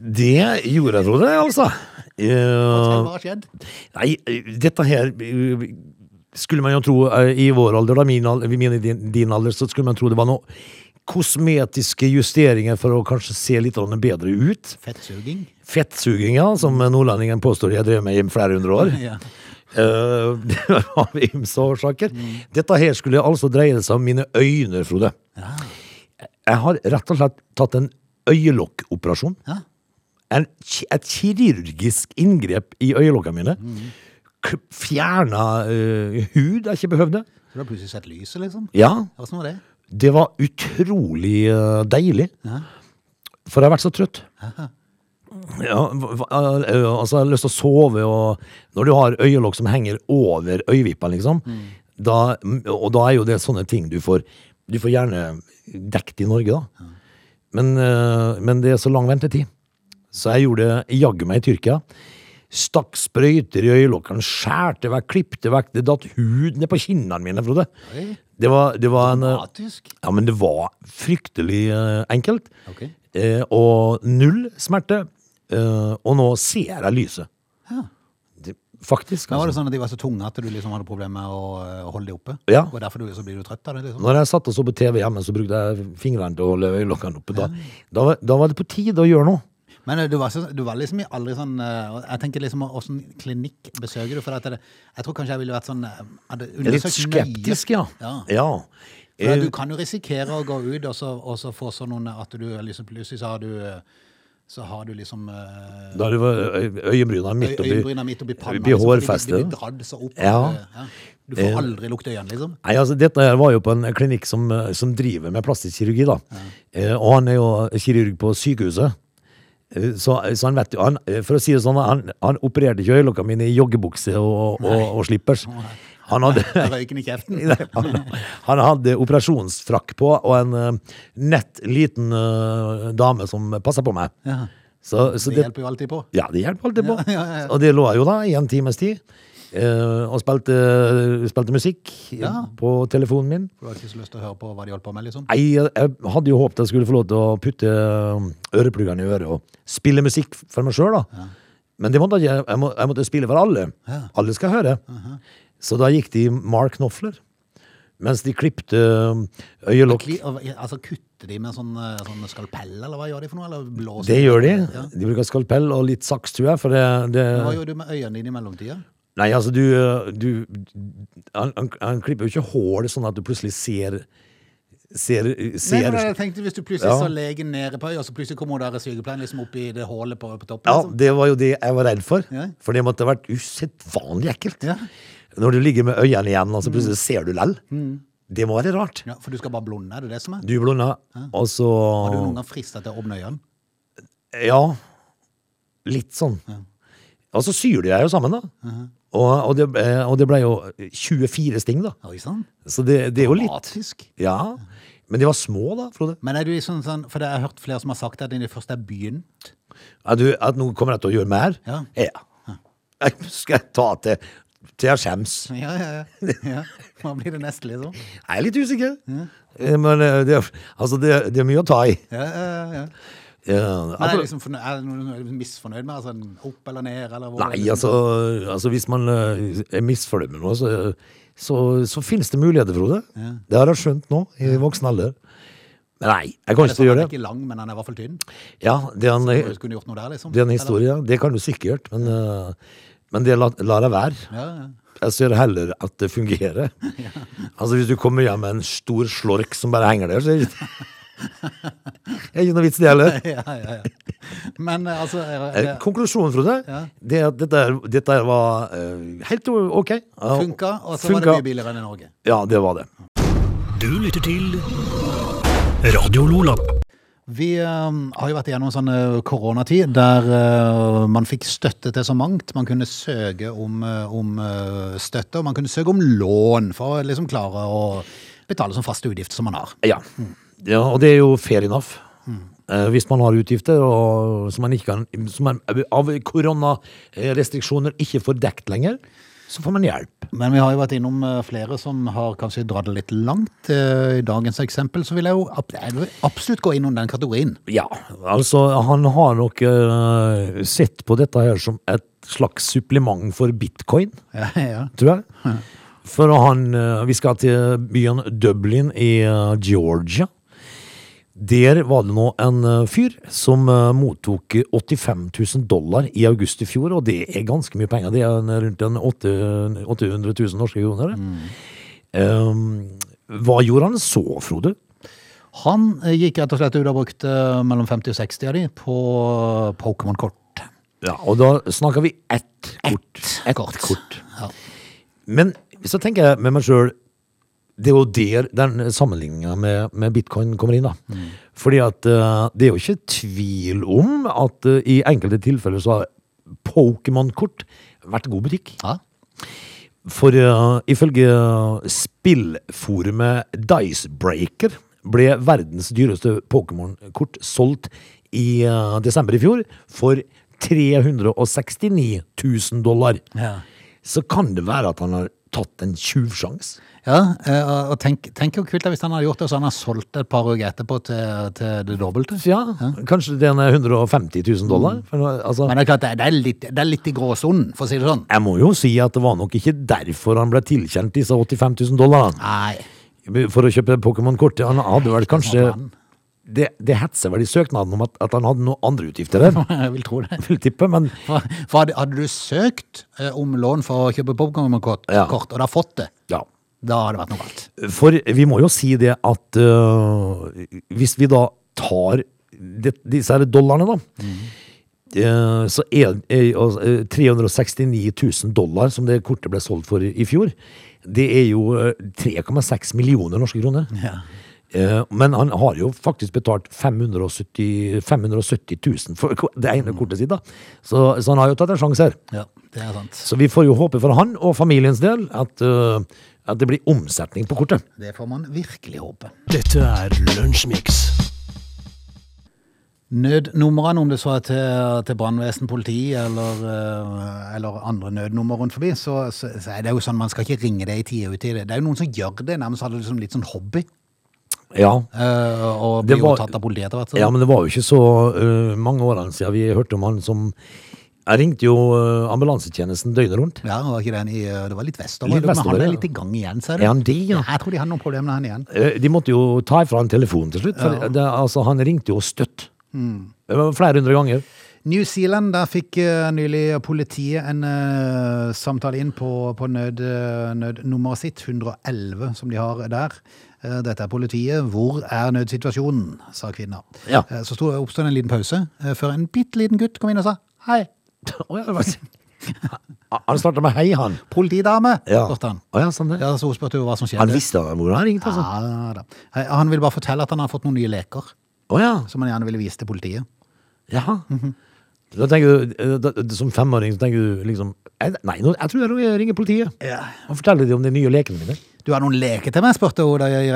[SPEAKER 3] Det gjorde jeg, Frode, altså.
[SPEAKER 2] Hva
[SPEAKER 3] Eh,
[SPEAKER 2] har skjedd?
[SPEAKER 3] nei, dette her eh, skulle man jo tro eh, i vår alder, da, min, al- min i din, din alder, så skulle man tro det var noe kosmetiske justeringer for å kanskje se litt grann bedre ut.
[SPEAKER 2] Fettsuging.
[SPEAKER 3] Fettsuginga, som nordlendingen påstår jeg drev med i flere hundre år.
[SPEAKER 2] Ja.
[SPEAKER 3] Eh, <laughs> av ymse årsaker. Dette her skulle altså dreie seg om mine øyne, Frode. Jeg har rett og slett tatt en øyelokkoperasjon.
[SPEAKER 2] Ja.
[SPEAKER 3] En, ki- et kirurgisk inngrep i øyelokkene mine. Mm. Fjerna eh, hud jeg ikke behøvde.
[SPEAKER 2] Så du har plutselig sett lyset, liksom?
[SPEAKER 3] Ja,
[SPEAKER 2] Åssen var det?
[SPEAKER 3] det var utrolig eh, deilig.
[SPEAKER 2] Ja.
[SPEAKER 3] For jeg har vært så trøtt. Ja, hva- hva- eh, altså, jeg har lyst til å sove, og når du har øyelokk som henger over øyevippene, liksom,
[SPEAKER 2] Mm.
[SPEAKER 3] da, og da er jo det sånne ting du får Du får gjerne dekt i Norge, da. Men, eh, men det er så lang ventetid. Så jeg gjorde det jaggu meg i Tyrkia. Stakk sprøyter i øyelokkene, skjærte vekk, klipte vekk, det datt hud ned på kinnene mine, Frode.
[SPEAKER 2] Oi.
[SPEAKER 3] Det var, det var en eh,
[SPEAKER 2] Atisk.
[SPEAKER 3] ja, men det var fryktelig eh, enkelt.
[SPEAKER 2] Ok.
[SPEAKER 3] Eh, og null smerte. Eh, og nå ser jeg lyset.
[SPEAKER 2] Ja.
[SPEAKER 3] Det, faktisk.
[SPEAKER 2] Men var
[SPEAKER 3] Altså.
[SPEAKER 2] det sånn at de var så tunge at du liksom hadde problemer med å eh, holde de oppe?
[SPEAKER 3] Ja.
[SPEAKER 2] Og derfor du, så blir du trøtt av det? liksom?
[SPEAKER 3] Når jeg satt og så på TV hjemme, så brukte jeg fingrene til å holde øyelokkene oppe. Da, da, var- da var det på tide å gjøre noe.
[SPEAKER 2] Men eh, du var, så, du var liksom aldri sånn eh, og Jeg tenker liksom, Åssen klinikk besøker du? For at det, jeg tror kanskje jeg ville vært sånn eh, hadde
[SPEAKER 3] Litt
[SPEAKER 2] undersøkt nøye.
[SPEAKER 3] skeptisk, ja.
[SPEAKER 2] Ja.
[SPEAKER 3] ja.
[SPEAKER 2] For at
[SPEAKER 3] Eh,
[SPEAKER 2] du kan jo risikere å gå ut og så, og så få sånn noen at du liksom plutselig så har du eh, Så har du liksom eh,
[SPEAKER 3] Da er det ø- øyebryna midt oppi,
[SPEAKER 2] Øyebryna midt oppi panna.
[SPEAKER 3] oppi
[SPEAKER 2] liksom, fordi
[SPEAKER 3] hårfestet.
[SPEAKER 2] De, de blir dradd så opp.
[SPEAKER 3] Ja.
[SPEAKER 2] eh, Ja. Du får aldri lukte øynene, liksom.
[SPEAKER 3] <laughs> Nei, altså Dette her var jo på en klinikk som, eh, som driver med plastikkirurgi. da. Eh, og han er jo kirurg på sykehuset. Eh, Så, så han vet jo, han, eh, For å si det sånn, han, han opererte ikke øyelokka mine i joggebukse og, og, og slippers. Han hadde,
[SPEAKER 2] Røyken i kjeften.
[SPEAKER 3] <laughs> Nei, han, han hadde operasjonsfrakk på og en eh, nett liten eh, dame som passa på meg.
[SPEAKER 2] Ja.
[SPEAKER 3] Så, så
[SPEAKER 2] Det
[SPEAKER 3] det,
[SPEAKER 2] hjelper jo alltid på.
[SPEAKER 3] ja, det hjelper alltid på. Og det lå jeg jo da i en times tid. eh, og spilte, spilte musikk eh,
[SPEAKER 2] Ja.
[SPEAKER 3] på telefonen min.
[SPEAKER 2] For Du har ikke så lyst til å høre på hva de holdt på med, liksom.
[SPEAKER 3] Nei, jeg, jeg hadde jo håpet jeg skulle få lov til å putte um, øreplugene i øret og spille musikk for meg sjøl, da. Men det måtte jeg ikke. Jeg, må, jeg måtte spille for alle. Alle skal høre. Så da gikk de Mark Knopfler. Mens de klipte um, øyelokk.
[SPEAKER 2] Kli, og- altså, kutter de med sånn, eh, sånn skalpell, eller hva gjør de for noe? Eller blåser
[SPEAKER 3] Det gjør de.
[SPEAKER 2] Ja.
[SPEAKER 3] De bruker skalpell og litt saks, tror jeg. For det,
[SPEAKER 2] Hva
[SPEAKER 3] det
[SPEAKER 2] gjør du med øynene dine i mellomtida?
[SPEAKER 3] Nei, altså, du, du han, han, han klipper jo ikke hull sånn at du plutselig ser Ser,
[SPEAKER 2] Nei,
[SPEAKER 3] ser
[SPEAKER 2] men jeg tenkte Hvis du plutselig
[SPEAKER 3] Ja.
[SPEAKER 2] så legen nede på øyet, og så plutselig kommer der sykepleieren liksom opp i det hullet på, på toppen?
[SPEAKER 3] Ja,
[SPEAKER 2] liksom.
[SPEAKER 3] det var jo det jeg var redd for.
[SPEAKER 2] Ja.
[SPEAKER 3] For det måtte ha vært usedvanlig ekkelt.
[SPEAKER 2] Ja. Mm.
[SPEAKER 3] Når du ligger med øynene igjen, og så plutselig ser du lell. Det må være rart.
[SPEAKER 2] Ja, for du skal bare blunde, er det det som er?
[SPEAKER 3] Du blunda, og så
[SPEAKER 2] Har du noen gang frista til å åpne øynene?
[SPEAKER 3] Ja. Litt sånn. Og så syr de deg jo sammen, da. og, og, det, eh, og det ble jo 24 sting, da.
[SPEAKER 2] Oi sann.
[SPEAKER 3] Så det, det er jo litt.
[SPEAKER 2] Atisk.
[SPEAKER 3] Ja. Men de var små, da, Frode.
[SPEAKER 2] Men er du i sånn, sånn For det har jeg hørt flere som har sagt at når de først er begynt
[SPEAKER 3] At, du, at nå kommer jeg til å gjøre mer?
[SPEAKER 2] Ja.
[SPEAKER 3] Jeg <laughs> skal ta til, til jeg skjems.
[SPEAKER 2] Ja, ja, ja. <laughs> ja. Hva blir det neste, liksom?
[SPEAKER 3] Jeg er litt usikker. Eh, Men eh, det, er- altså, det, er- det er mye å ta i.
[SPEAKER 2] Ja, ja, ja.
[SPEAKER 3] Eh,
[SPEAKER 2] Men er,
[SPEAKER 3] altså-
[SPEAKER 2] det liksom fornø- er det noen misfornøyd med altså, opp eller ned? Eller hvor,
[SPEAKER 3] Nei, altså, altså hvis man eh, er misfornøyd med noe, så, så, så finnes det muligheter, Frode. Det har jeg skjønt nå, i voksen alder. Men nei, jeg
[SPEAKER 2] Er
[SPEAKER 3] kan
[SPEAKER 2] det
[SPEAKER 3] ikke
[SPEAKER 2] sånn at
[SPEAKER 3] gjøre
[SPEAKER 2] den
[SPEAKER 3] det.
[SPEAKER 2] ikke er lang, men den er i hvert fall tynn?
[SPEAKER 3] Ja, det er en,
[SPEAKER 2] Så du kunne gjort noe der, liksom?
[SPEAKER 3] det er en historie. ja. Det kan du sikkert, men, eh, men det la- lar jeg være.
[SPEAKER 2] Eller? Ja, ja.
[SPEAKER 3] Jeg ser heller at det
[SPEAKER 2] <laughs>
[SPEAKER 3] fungerer. Altså, hvis du kommer hjem med en stor slork som bare henger der, så er det ikke, <laughs> det er ikke noe vits, det heller.
[SPEAKER 2] Ja, ja, ja. Men eh, altså er-
[SPEAKER 3] Eh,
[SPEAKER 2] det
[SPEAKER 3] Konklusjonen, Frode,
[SPEAKER 2] Ja.
[SPEAKER 3] det er at dette, her- dette her var eh, helt o- ok. Ja,
[SPEAKER 2] funka, og så var
[SPEAKER 3] funka.
[SPEAKER 2] det mye Mm. billigere enn i Norge.
[SPEAKER 3] Ja, det var det.
[SPEAKER 1] Du lytter til Radio Lola.
[SPEAKER 2] Vi eh, har jo vært igjennom en sånn eh, koronatid der eh, man fikk støtte til så mangt. Man kunne søke om, eh, om eh, støtte, og man kunne søke om lån for å liksom klare å betale sånn faste utgifter som man har.
[SPEAKER 3] Ja. ja, og det er jo fair enough.
[SPEAKER 2] Mm.
[SPEAKER 3] Eh, Hvis man har utgifter og, som man ikke kan som man, av koronarestriksjoner ikke får dekt lenger, så får man hjelp.
[SPEAKER 2] Men vi har jo vært innom eh, flere som har kanskje dratt det litt langt. Eh, I dagens eksempel så vil jeg jo ab- jeg vil absolutt gå innom den kategorien. <laughs>
[SPEAKER 3] Ja, altså han har nok eh, sett på dette her som et slags supplement for bitcoin.
[SPEAKER 2] Ja, ja.
[SPEAKER 3] tror jeg. For han, eh, vi skal til byen Dublin i eh, Georgia. Der var det nå en eh, fyr som eh, mottok 85 000 dollar i august i fjor, og det er ganske mye penger. Det er en- rundt en åtte- 800 000 norske kroner. det. Um, hva gjorde han så, Frode?
[SPEAKER 2] Han eh, gikk rett og slett ut og brukte eh, mellom 50 og 60 av de på eh, Pokémon-kort.
[SPEAKER 3] Ja, og da snakker vi ett kort.
[SPEAKER 2] Ett kort. Ja.
[SPEAKER 3] Men så tenker jeg med meg sjøl Det er jo der den sammenligninga med, med bitcoin kommer inn. da.
[SPEAKER 2] Mm.
[SPEAKER 3] Fordi at eh, det er jo ikke tvil om at eh, i enkelte tilfeller så har Pokémon-kort vært god butikk.
[SPEAKER 2] Ja.
[SPEAKER 3] For eh, ifølge eh, spillforumet Dicebreaker ble verdens dyreste Pokémon-kort solgt i eh, desember i fjor for 369 000 dollar.
[SPEAKER 2] Ja.
[SPEAKER 3] Så kan det være at han har tatt en tjuvsjans.
[SPEAKER 2] Ja, eh, og og tenk, tenk jo kult da hvis han hadde gjort det, og så han har solgt det et par uker etterpå til, til det dobbelte.
[SPEAKER 3] Ja, kanskje den er 150 000 dollar. For, nå- altså,
[SPEAKER 2] Mm. Men det er klart, det er- det er litt, det er litt i gråsonen, for å si det sånn.
[SPEAKER 3] jeg må jo si at det var nok ikke derfor han ble tilkjent disse 85 000 dollarene.
[SPEAKER 2] Nei. <laughs>
[SPEAKER 3] For å kjøpe Pokémon-kort. Han hadde vel kanskje
[SPEAKER 2] planen.
[SPEAKER 3] det, det hetser vel i søknaden om at, at han hadde noen andre utgifter der,
[SPEAKER 2] Jeg vil tro det.
[SPEAKER 3] <laughs> vil tippe, men
[SPEAKER 2] For, for hadde, hadde du søkt eh, om lån for å kjøpe popkornkort,
[SPEAKER 3] Ja.
[SPEAKER 2] kort, og da fått det,
[SPEAKER 3] ja.
[SPEAKER 2] da hadde det vært noe galt.
[SPEAKER 3] For vi må jo si det at øh, hvis vi da tar det, disse her dollarene, da, øh, så er er- og, øh, 369 000 dollar som det kortet ble solgt for i i fjor, det er jo øh, 3,6 millioner norske kroner. Eh, Men han har jo faktisk betalt 570, 570 000 for ko- det ene kortet sitt, da. Så, så han har jo tatt en sjanse her.
[SPEAKER 2] Ja, det er sant.
[SPEAKER 3] Så vi får jo håpe for han og familiens del at, øh, at det blir omsetning på kortet.
[SPEAKER 2] Det får man virkelig håpe.
[SPEAKER 1] Dette er Lunsjmix.
[SPEAKER 2] Nødnumrene, om det så er til, til brannvesen, politi eller, eh, eller andre nødnummer rundt forbi, så, så, så er det jo sånn man skal ikke ringe det i tide og utide. Det er jo noen som gjør det, nærmest hadde det som litt sånn hobby,
[SPEAKER 3] Ja.
[SPEAKER 2] eh, og
[SPEAKER 3] Det
[SPEAKER 2] blir jo
[SPEAKER 3] var-
[SPEAKER 2] tatt av politiet etter hvert. så-
[SPEAKER 3] ja, men det var jo ikke så øh, mange årene siden vi hørte om han som Jeg ringte jo øh, ambulansetjenesten døgnet rundt.
[SPEAKER 2] Ja, var ikke den i, eh, det var litt vestover,
[SPEAKER 3] Litt vestover,
[SPEAKER 2] men han
[SPEAKER 3] ja.
[SPEAKER 2] er litt i gang igjen, ser du.
[SPEAKER 3] Er han det, ja?
[SPEAKER 2] Jeg tror de har noen problemer med han igjen.
[SPEAKER 3] Eh, De måtte jo ta ifra han telefonen til slutt. For det, altså, han ringte jo støtt. Det var Flere hundre ganger.
[SPEAKER 2] New Zealand, der fikk eh, nylig politiet en eh, samtale inn på, på nød, eh, nødnummeret sitt, 111 som de har der. Eh, dette er politiet, hvor er nødsituasjonen, sa kvinna.
[SPEAKER 3] Ja.
[SPEAKER 2] Eh, så sto- oppstod det en liten pause, eh, før en bitte liten gutt kom inn og sa, hei,
[SPEAKER 3] <laughs> Å, ja, det var... Han starta med 'hei, han'.
[SPEAKER 2] politidame, spurte han.
[SPEAKER 3] Å, ja, sånn det.
[SPEAKER 2] Ja, så hun spurte jo hva som skjedde.
[SPEAKER 3] Han visste hvor han ringte, altså.
[SPEAKER 2] Ja, da. Eh, Han ville bare fortelle at han har fått noen nye leker,
[SPEAKER 3] Å ja. Mhm.
[SPEAKER 2] som han gjerne ville vise til politiet.
[SPEAKER 3] Jaha. Da tenker du, eh, da, Som femåring så tenker du liksom eh, Nei, nå, jeg tror jeg ringer politiet.
[SPEAKER 2] Ja.
[SPEAKER 3] Og forteller dem om de nye lekene mine.
[SPEAKER 2] Du har noen leker til meg, spurte hun da i,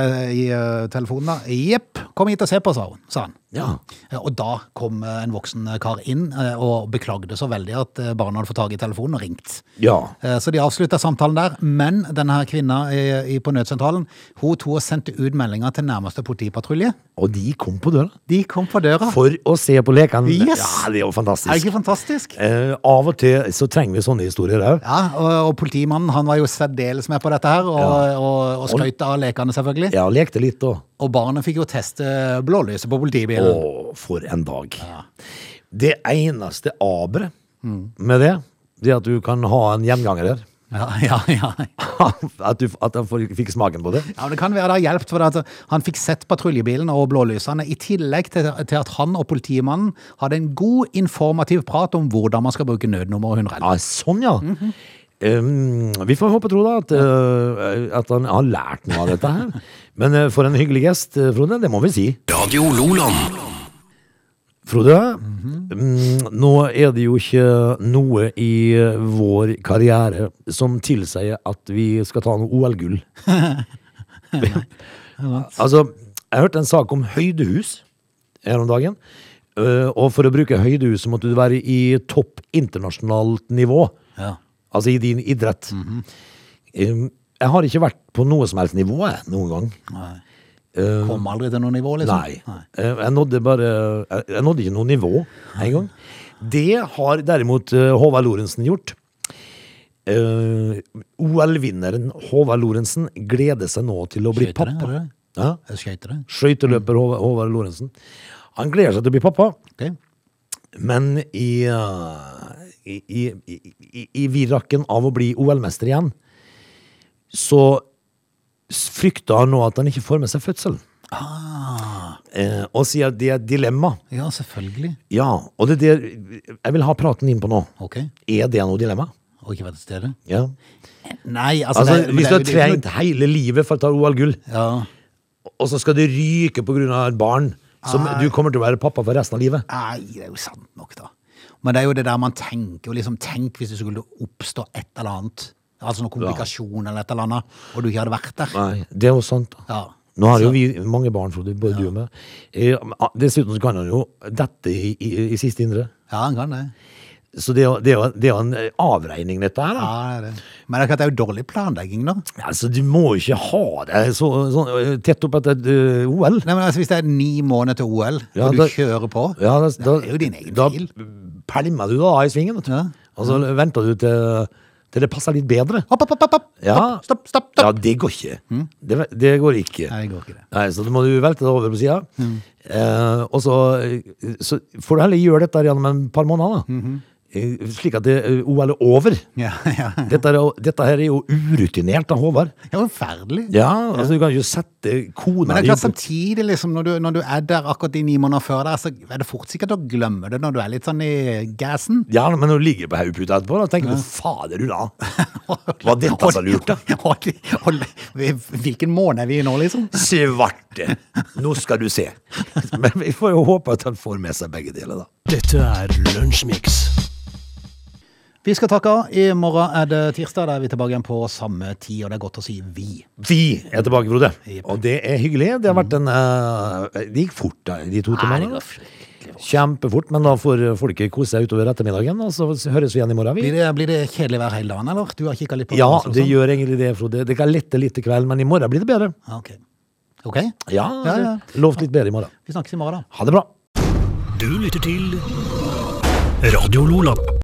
[SPEAKER 2] i eh, telefonen. da. Jepp, kom hit og se på, sa hun. Sa han.
[SPEAKER 3] Ja.
[SPEAKER 2] Ja, Og da kom eh, en voksen kar inn eh, og beklagde så veldig at eh, barna hadde fått tak i telefonen og ringt.
[SPEAKER 3] Ja.
[SPEAKER 2] Eh, Så de avslutta samtalen der, men denne her kvinna eh, i- i- på nødsentralen hun tog og sendte ut meldinga til nærmeste politipatrulje.
[SPEAKER 3] Og de kom på døra.
[SPEAKER 2] De kom på døra.
[SPEAKER 3] For å se på lekene.
[SPEAKER 2] Ah. Yes!
[SPEAKER 3] Ja, det er jo
[SPEAKER 2] Er det
[SPEAKER 3] fantastisk.
[SPEAKER 2] ikke fantastisk?
[SPEAKER 3] Eh, av og til så trenger vi sånne historier òg.
[SPEAKER 2] Ja, og, og politimannen han var jo særdeles med på dette her, og, og, og skøyt av lekene, selvfølgelig.
[SPEAKER 3] Ja, lekte litt òg.
[SPEAKER 2] Og barnet fikk jo teste blålyset på politibilen.
[SPEAKER 3] Å, for en dag. Det eneste aberet
[SPEAKER 2] Mm.
[SPEAKER 3] med det, det er at du kan ha en gjenganger her. <laughs>
[SPEAKER 2] Ja, ja, ja.
[SPEAKER 3] at, du, at han får- fikk smaken på det.
[SPEAKER 2] Ja, men Det kan være det har hjulpet. for at Han fikk sett patruljebilen og blålysene, i tillegg til, til at han og politimannen hadde en god informativ prat om hvordan man skal bruke nødnummer 111.
[SPEAKER 3] Ja, sånn ja.
[SPEAKER 2] Mhm.
[SPEAKER 3] um, vi får håpe og tro da at, eh, at han har lært noe av dette her. Men eh, for en hyggelig gjest, eh, Frode, det må vi si.
[SPEAKER 1] Radio Loland.
[SPEAKER 3] Frode, mm, nå er det jo ikke noe i eh, vår karriere som tilsier at vi skal ta noe OL-gull. altså, jeg hørte en sak om høydehus her om dagen. eh, og for å bruke høydehus så måtte du være i topp internasjonalt nivå.
[SPEAKER 2] Ja.
[SPEAKER 3] Altså i din idrett. Eh, jeg har ikke vært på noe som helst nivå jeg, noen gang.
[SPEAKER 2] Kom aldri til noe nivå, liksom.
[SPEAKER 3] Nei. Eh, Jeg nådde bare Jeg jeg nådde ikke noe nivå en gang. Det har derimot eh, Håvard Lorentzen gjort. Eh, OL-vinneren Håvard Lorentzen gleder seg nå til å bli
[SPEAKER 2] Skøyter det,
[SPEAKER 3] pappa.
[SPEAKER 2] er det?
[SPEAKER 3] Ja.
[SPEAKER 2] Jeg Skøyter det.
[SPEAKER 3] Skøyteløper Håvard, Håvard Lorentzen. Han gleder seg til å bli pappa,
[SPEAKER 2] Ok.
[SPEAKER 3] men i, eh, i, i, i, i, i virakken av å bli OL-mester igjen, så s- frykter han nå at han ikke får med seg fødselen. Eh, og sier at det er et dilemma.
[SPEAKER 2] Ja, selvfølgelig.
[SPEAKER 3] Ja, og det er det jeg vil ha praten inn på nå.
[SPEAKER 2] Ok.
[SPEAKER 3] Er det noe dilemma?
[SPEAKER 2] Og ikke være til stede?
[SPEAKER 3] Ja.
[SPEAKER 2] Nei, altså,
[SPEAKER 3] Altså,
[SPEAKER 2] det- men
[SPEAKER 3] hvis
[SPEAKER 2] det
[SPEAKER 3] du
[SPEAKER 2] er
[SPEAKER 3] har
[SPEAKER 2] jo- det er jo ikke
[SPEAKER 3] trent hele livet for å ta OL-gull,
[SPEAKER 2] noe- Ja.
[SPEAKER 3] og så skal du ryke på grunn av et barn som du kommer til å være pappa for resten av livet.
[SPEAKER 2] Nei, det er jo sant nok, da. Men det er jo det der man tenker. og Liksom, tenk hvis det skulle oppstå et eller annet. Altså noen komplikasjon eller et eller annet, og du ikke hadde vært der.
[SPEAKER 3] Nei, det er jo sant. da.
[SPEAKER 2] Ja.
[SPEAKER 3] Nå har jo vi mange barn, Frode, både du og meg. Eh, Dessuten så kan han jo dette i, i, i siste indre.
[SPEAKER 2] Ja, han kan det.
[SPEAKER 3] Så det er jo- det er jo det er jo en eh, avregning, dette her. da.
[SPEAKER 2] Ja, det, er det. Men akkurat det er jo dårlig planlegging, da.
[SPEAKER 3] Altså, du må ikke ha det så, sånn, eh, tett opp etter et eh, OL.
[SPEAKER 2] Nei, men altså, Hvis det er ni måneder til OL,
[SPEAKER 3] Ja,
[SPEAKER 2] og du
[SPEAKER 3] da-
[SPEAKER 2] kjører på
[SPEAKER 3] Ja, da, da,
[SPEAKER 2] Det er jo din egen
[SPEAKER 3] da
[SPEAKER 2] bil.
[SPEAKER 3] pælmer du da i svingen, vet du.
[SPEAKER 2] Ja.
[SPEAKER 3] Og så venter du til til det passer litt bedre.
[SPEAKER 2] Hopp, hopp, hopp, hopp, hopp.
[SPEAKER 3] Ja.
[SPEAKER 2] Stopp, stopp, stopp. stopp.
[SPEAKER 3] Ja, det går ikke. Det, det går ikke.
[SPEAKER 2] Nei, det går ikke det.
[SPEAKER 3] Nei, så da må du velte det over på sida. Eh, og så, eh, så får du heller gjøre dette her gjennom et par måneder, da. Eh, Slik at det, eh, OL er over.
[SPEAKER 2] Ja, <laughs> ja.
[SPEAKER 3] Dette, er, jo- dette her er jo urutinert av Håvard.
[SPEAKER 2] Det er jo forferdelig.
[SPEAKER 3] Ja, altså Du kan jo sette kona
[SPEAKER 2] Men det er
[SPEAKER 3] di
[SPEAKER 2] klart
[SPEAKER 3] på-
[SPEAKER 2] samtidig, liksom, når du, når du er der akkurat de ni måneder før der, så er det fort sikkert å glemme det når du er litt sånn i gassen.
[SPEAKER 3] <laughs> Ja, men når du ligger på hodeputa etterpå, da tenker du fader du da. Var dette så
[SPEAKER 2] <laughs>
[SPEAKER 3] lurt, da?
[SPEAKER 2] Hold- hold- Hvilken måned er vi i nå, liksom?
[SPEAKER 3] Svarte! Nå skal du se. Men vi får jo håpe at han får med seg begge deler, da.
[SPEAKER 1] Dette er Lunsjmix.
[SPEAKER 2] Vi skal takke av. I morgen er det tirsdag. Da er vi tilbake igjen på samme tid, og det er godt å si vi.
[SPEAKER 3] Vi er tilbake, Frode.
[SPEAKER 2] Jepp.
[SPEAKER 3] Og det er hyggelig. Det har vært en eh, Det gikk fort, da, de to timene. Kjempefort, men da får folket kose seg utover ettermiddagen, og så høres vi igjen i morgen.
[SPEAKER 2] Blir
[SPEAKER 3] Vi.
[SPEAKER 2] det, blir det kjedelig hver hele dagen, eller? Du har kikka litt på
[SPEAKER 3] Ja,
[SPEAKER 2] oss og
[SPEAKER 3] det
[SPEAKER 2] sånn.
[SPEAKER 3] gjør egentlig det, Frode. Det kan lette litt i kveld, men i morgen blir det bedre.
[SPEAKER 2] Ja, Ah, Ok. Ok,
[SPEAKER 3] Ja,
[SPEAKER 2] Ja, ja.
[SPEAKER 3] lovt litt bedre i morgen.
[SPEAKER 2] vi snakkes i morgen, da.
[SPEAKER 3] Ha det bra.
[SPEAKER 1] Du lytter til Radio Lola.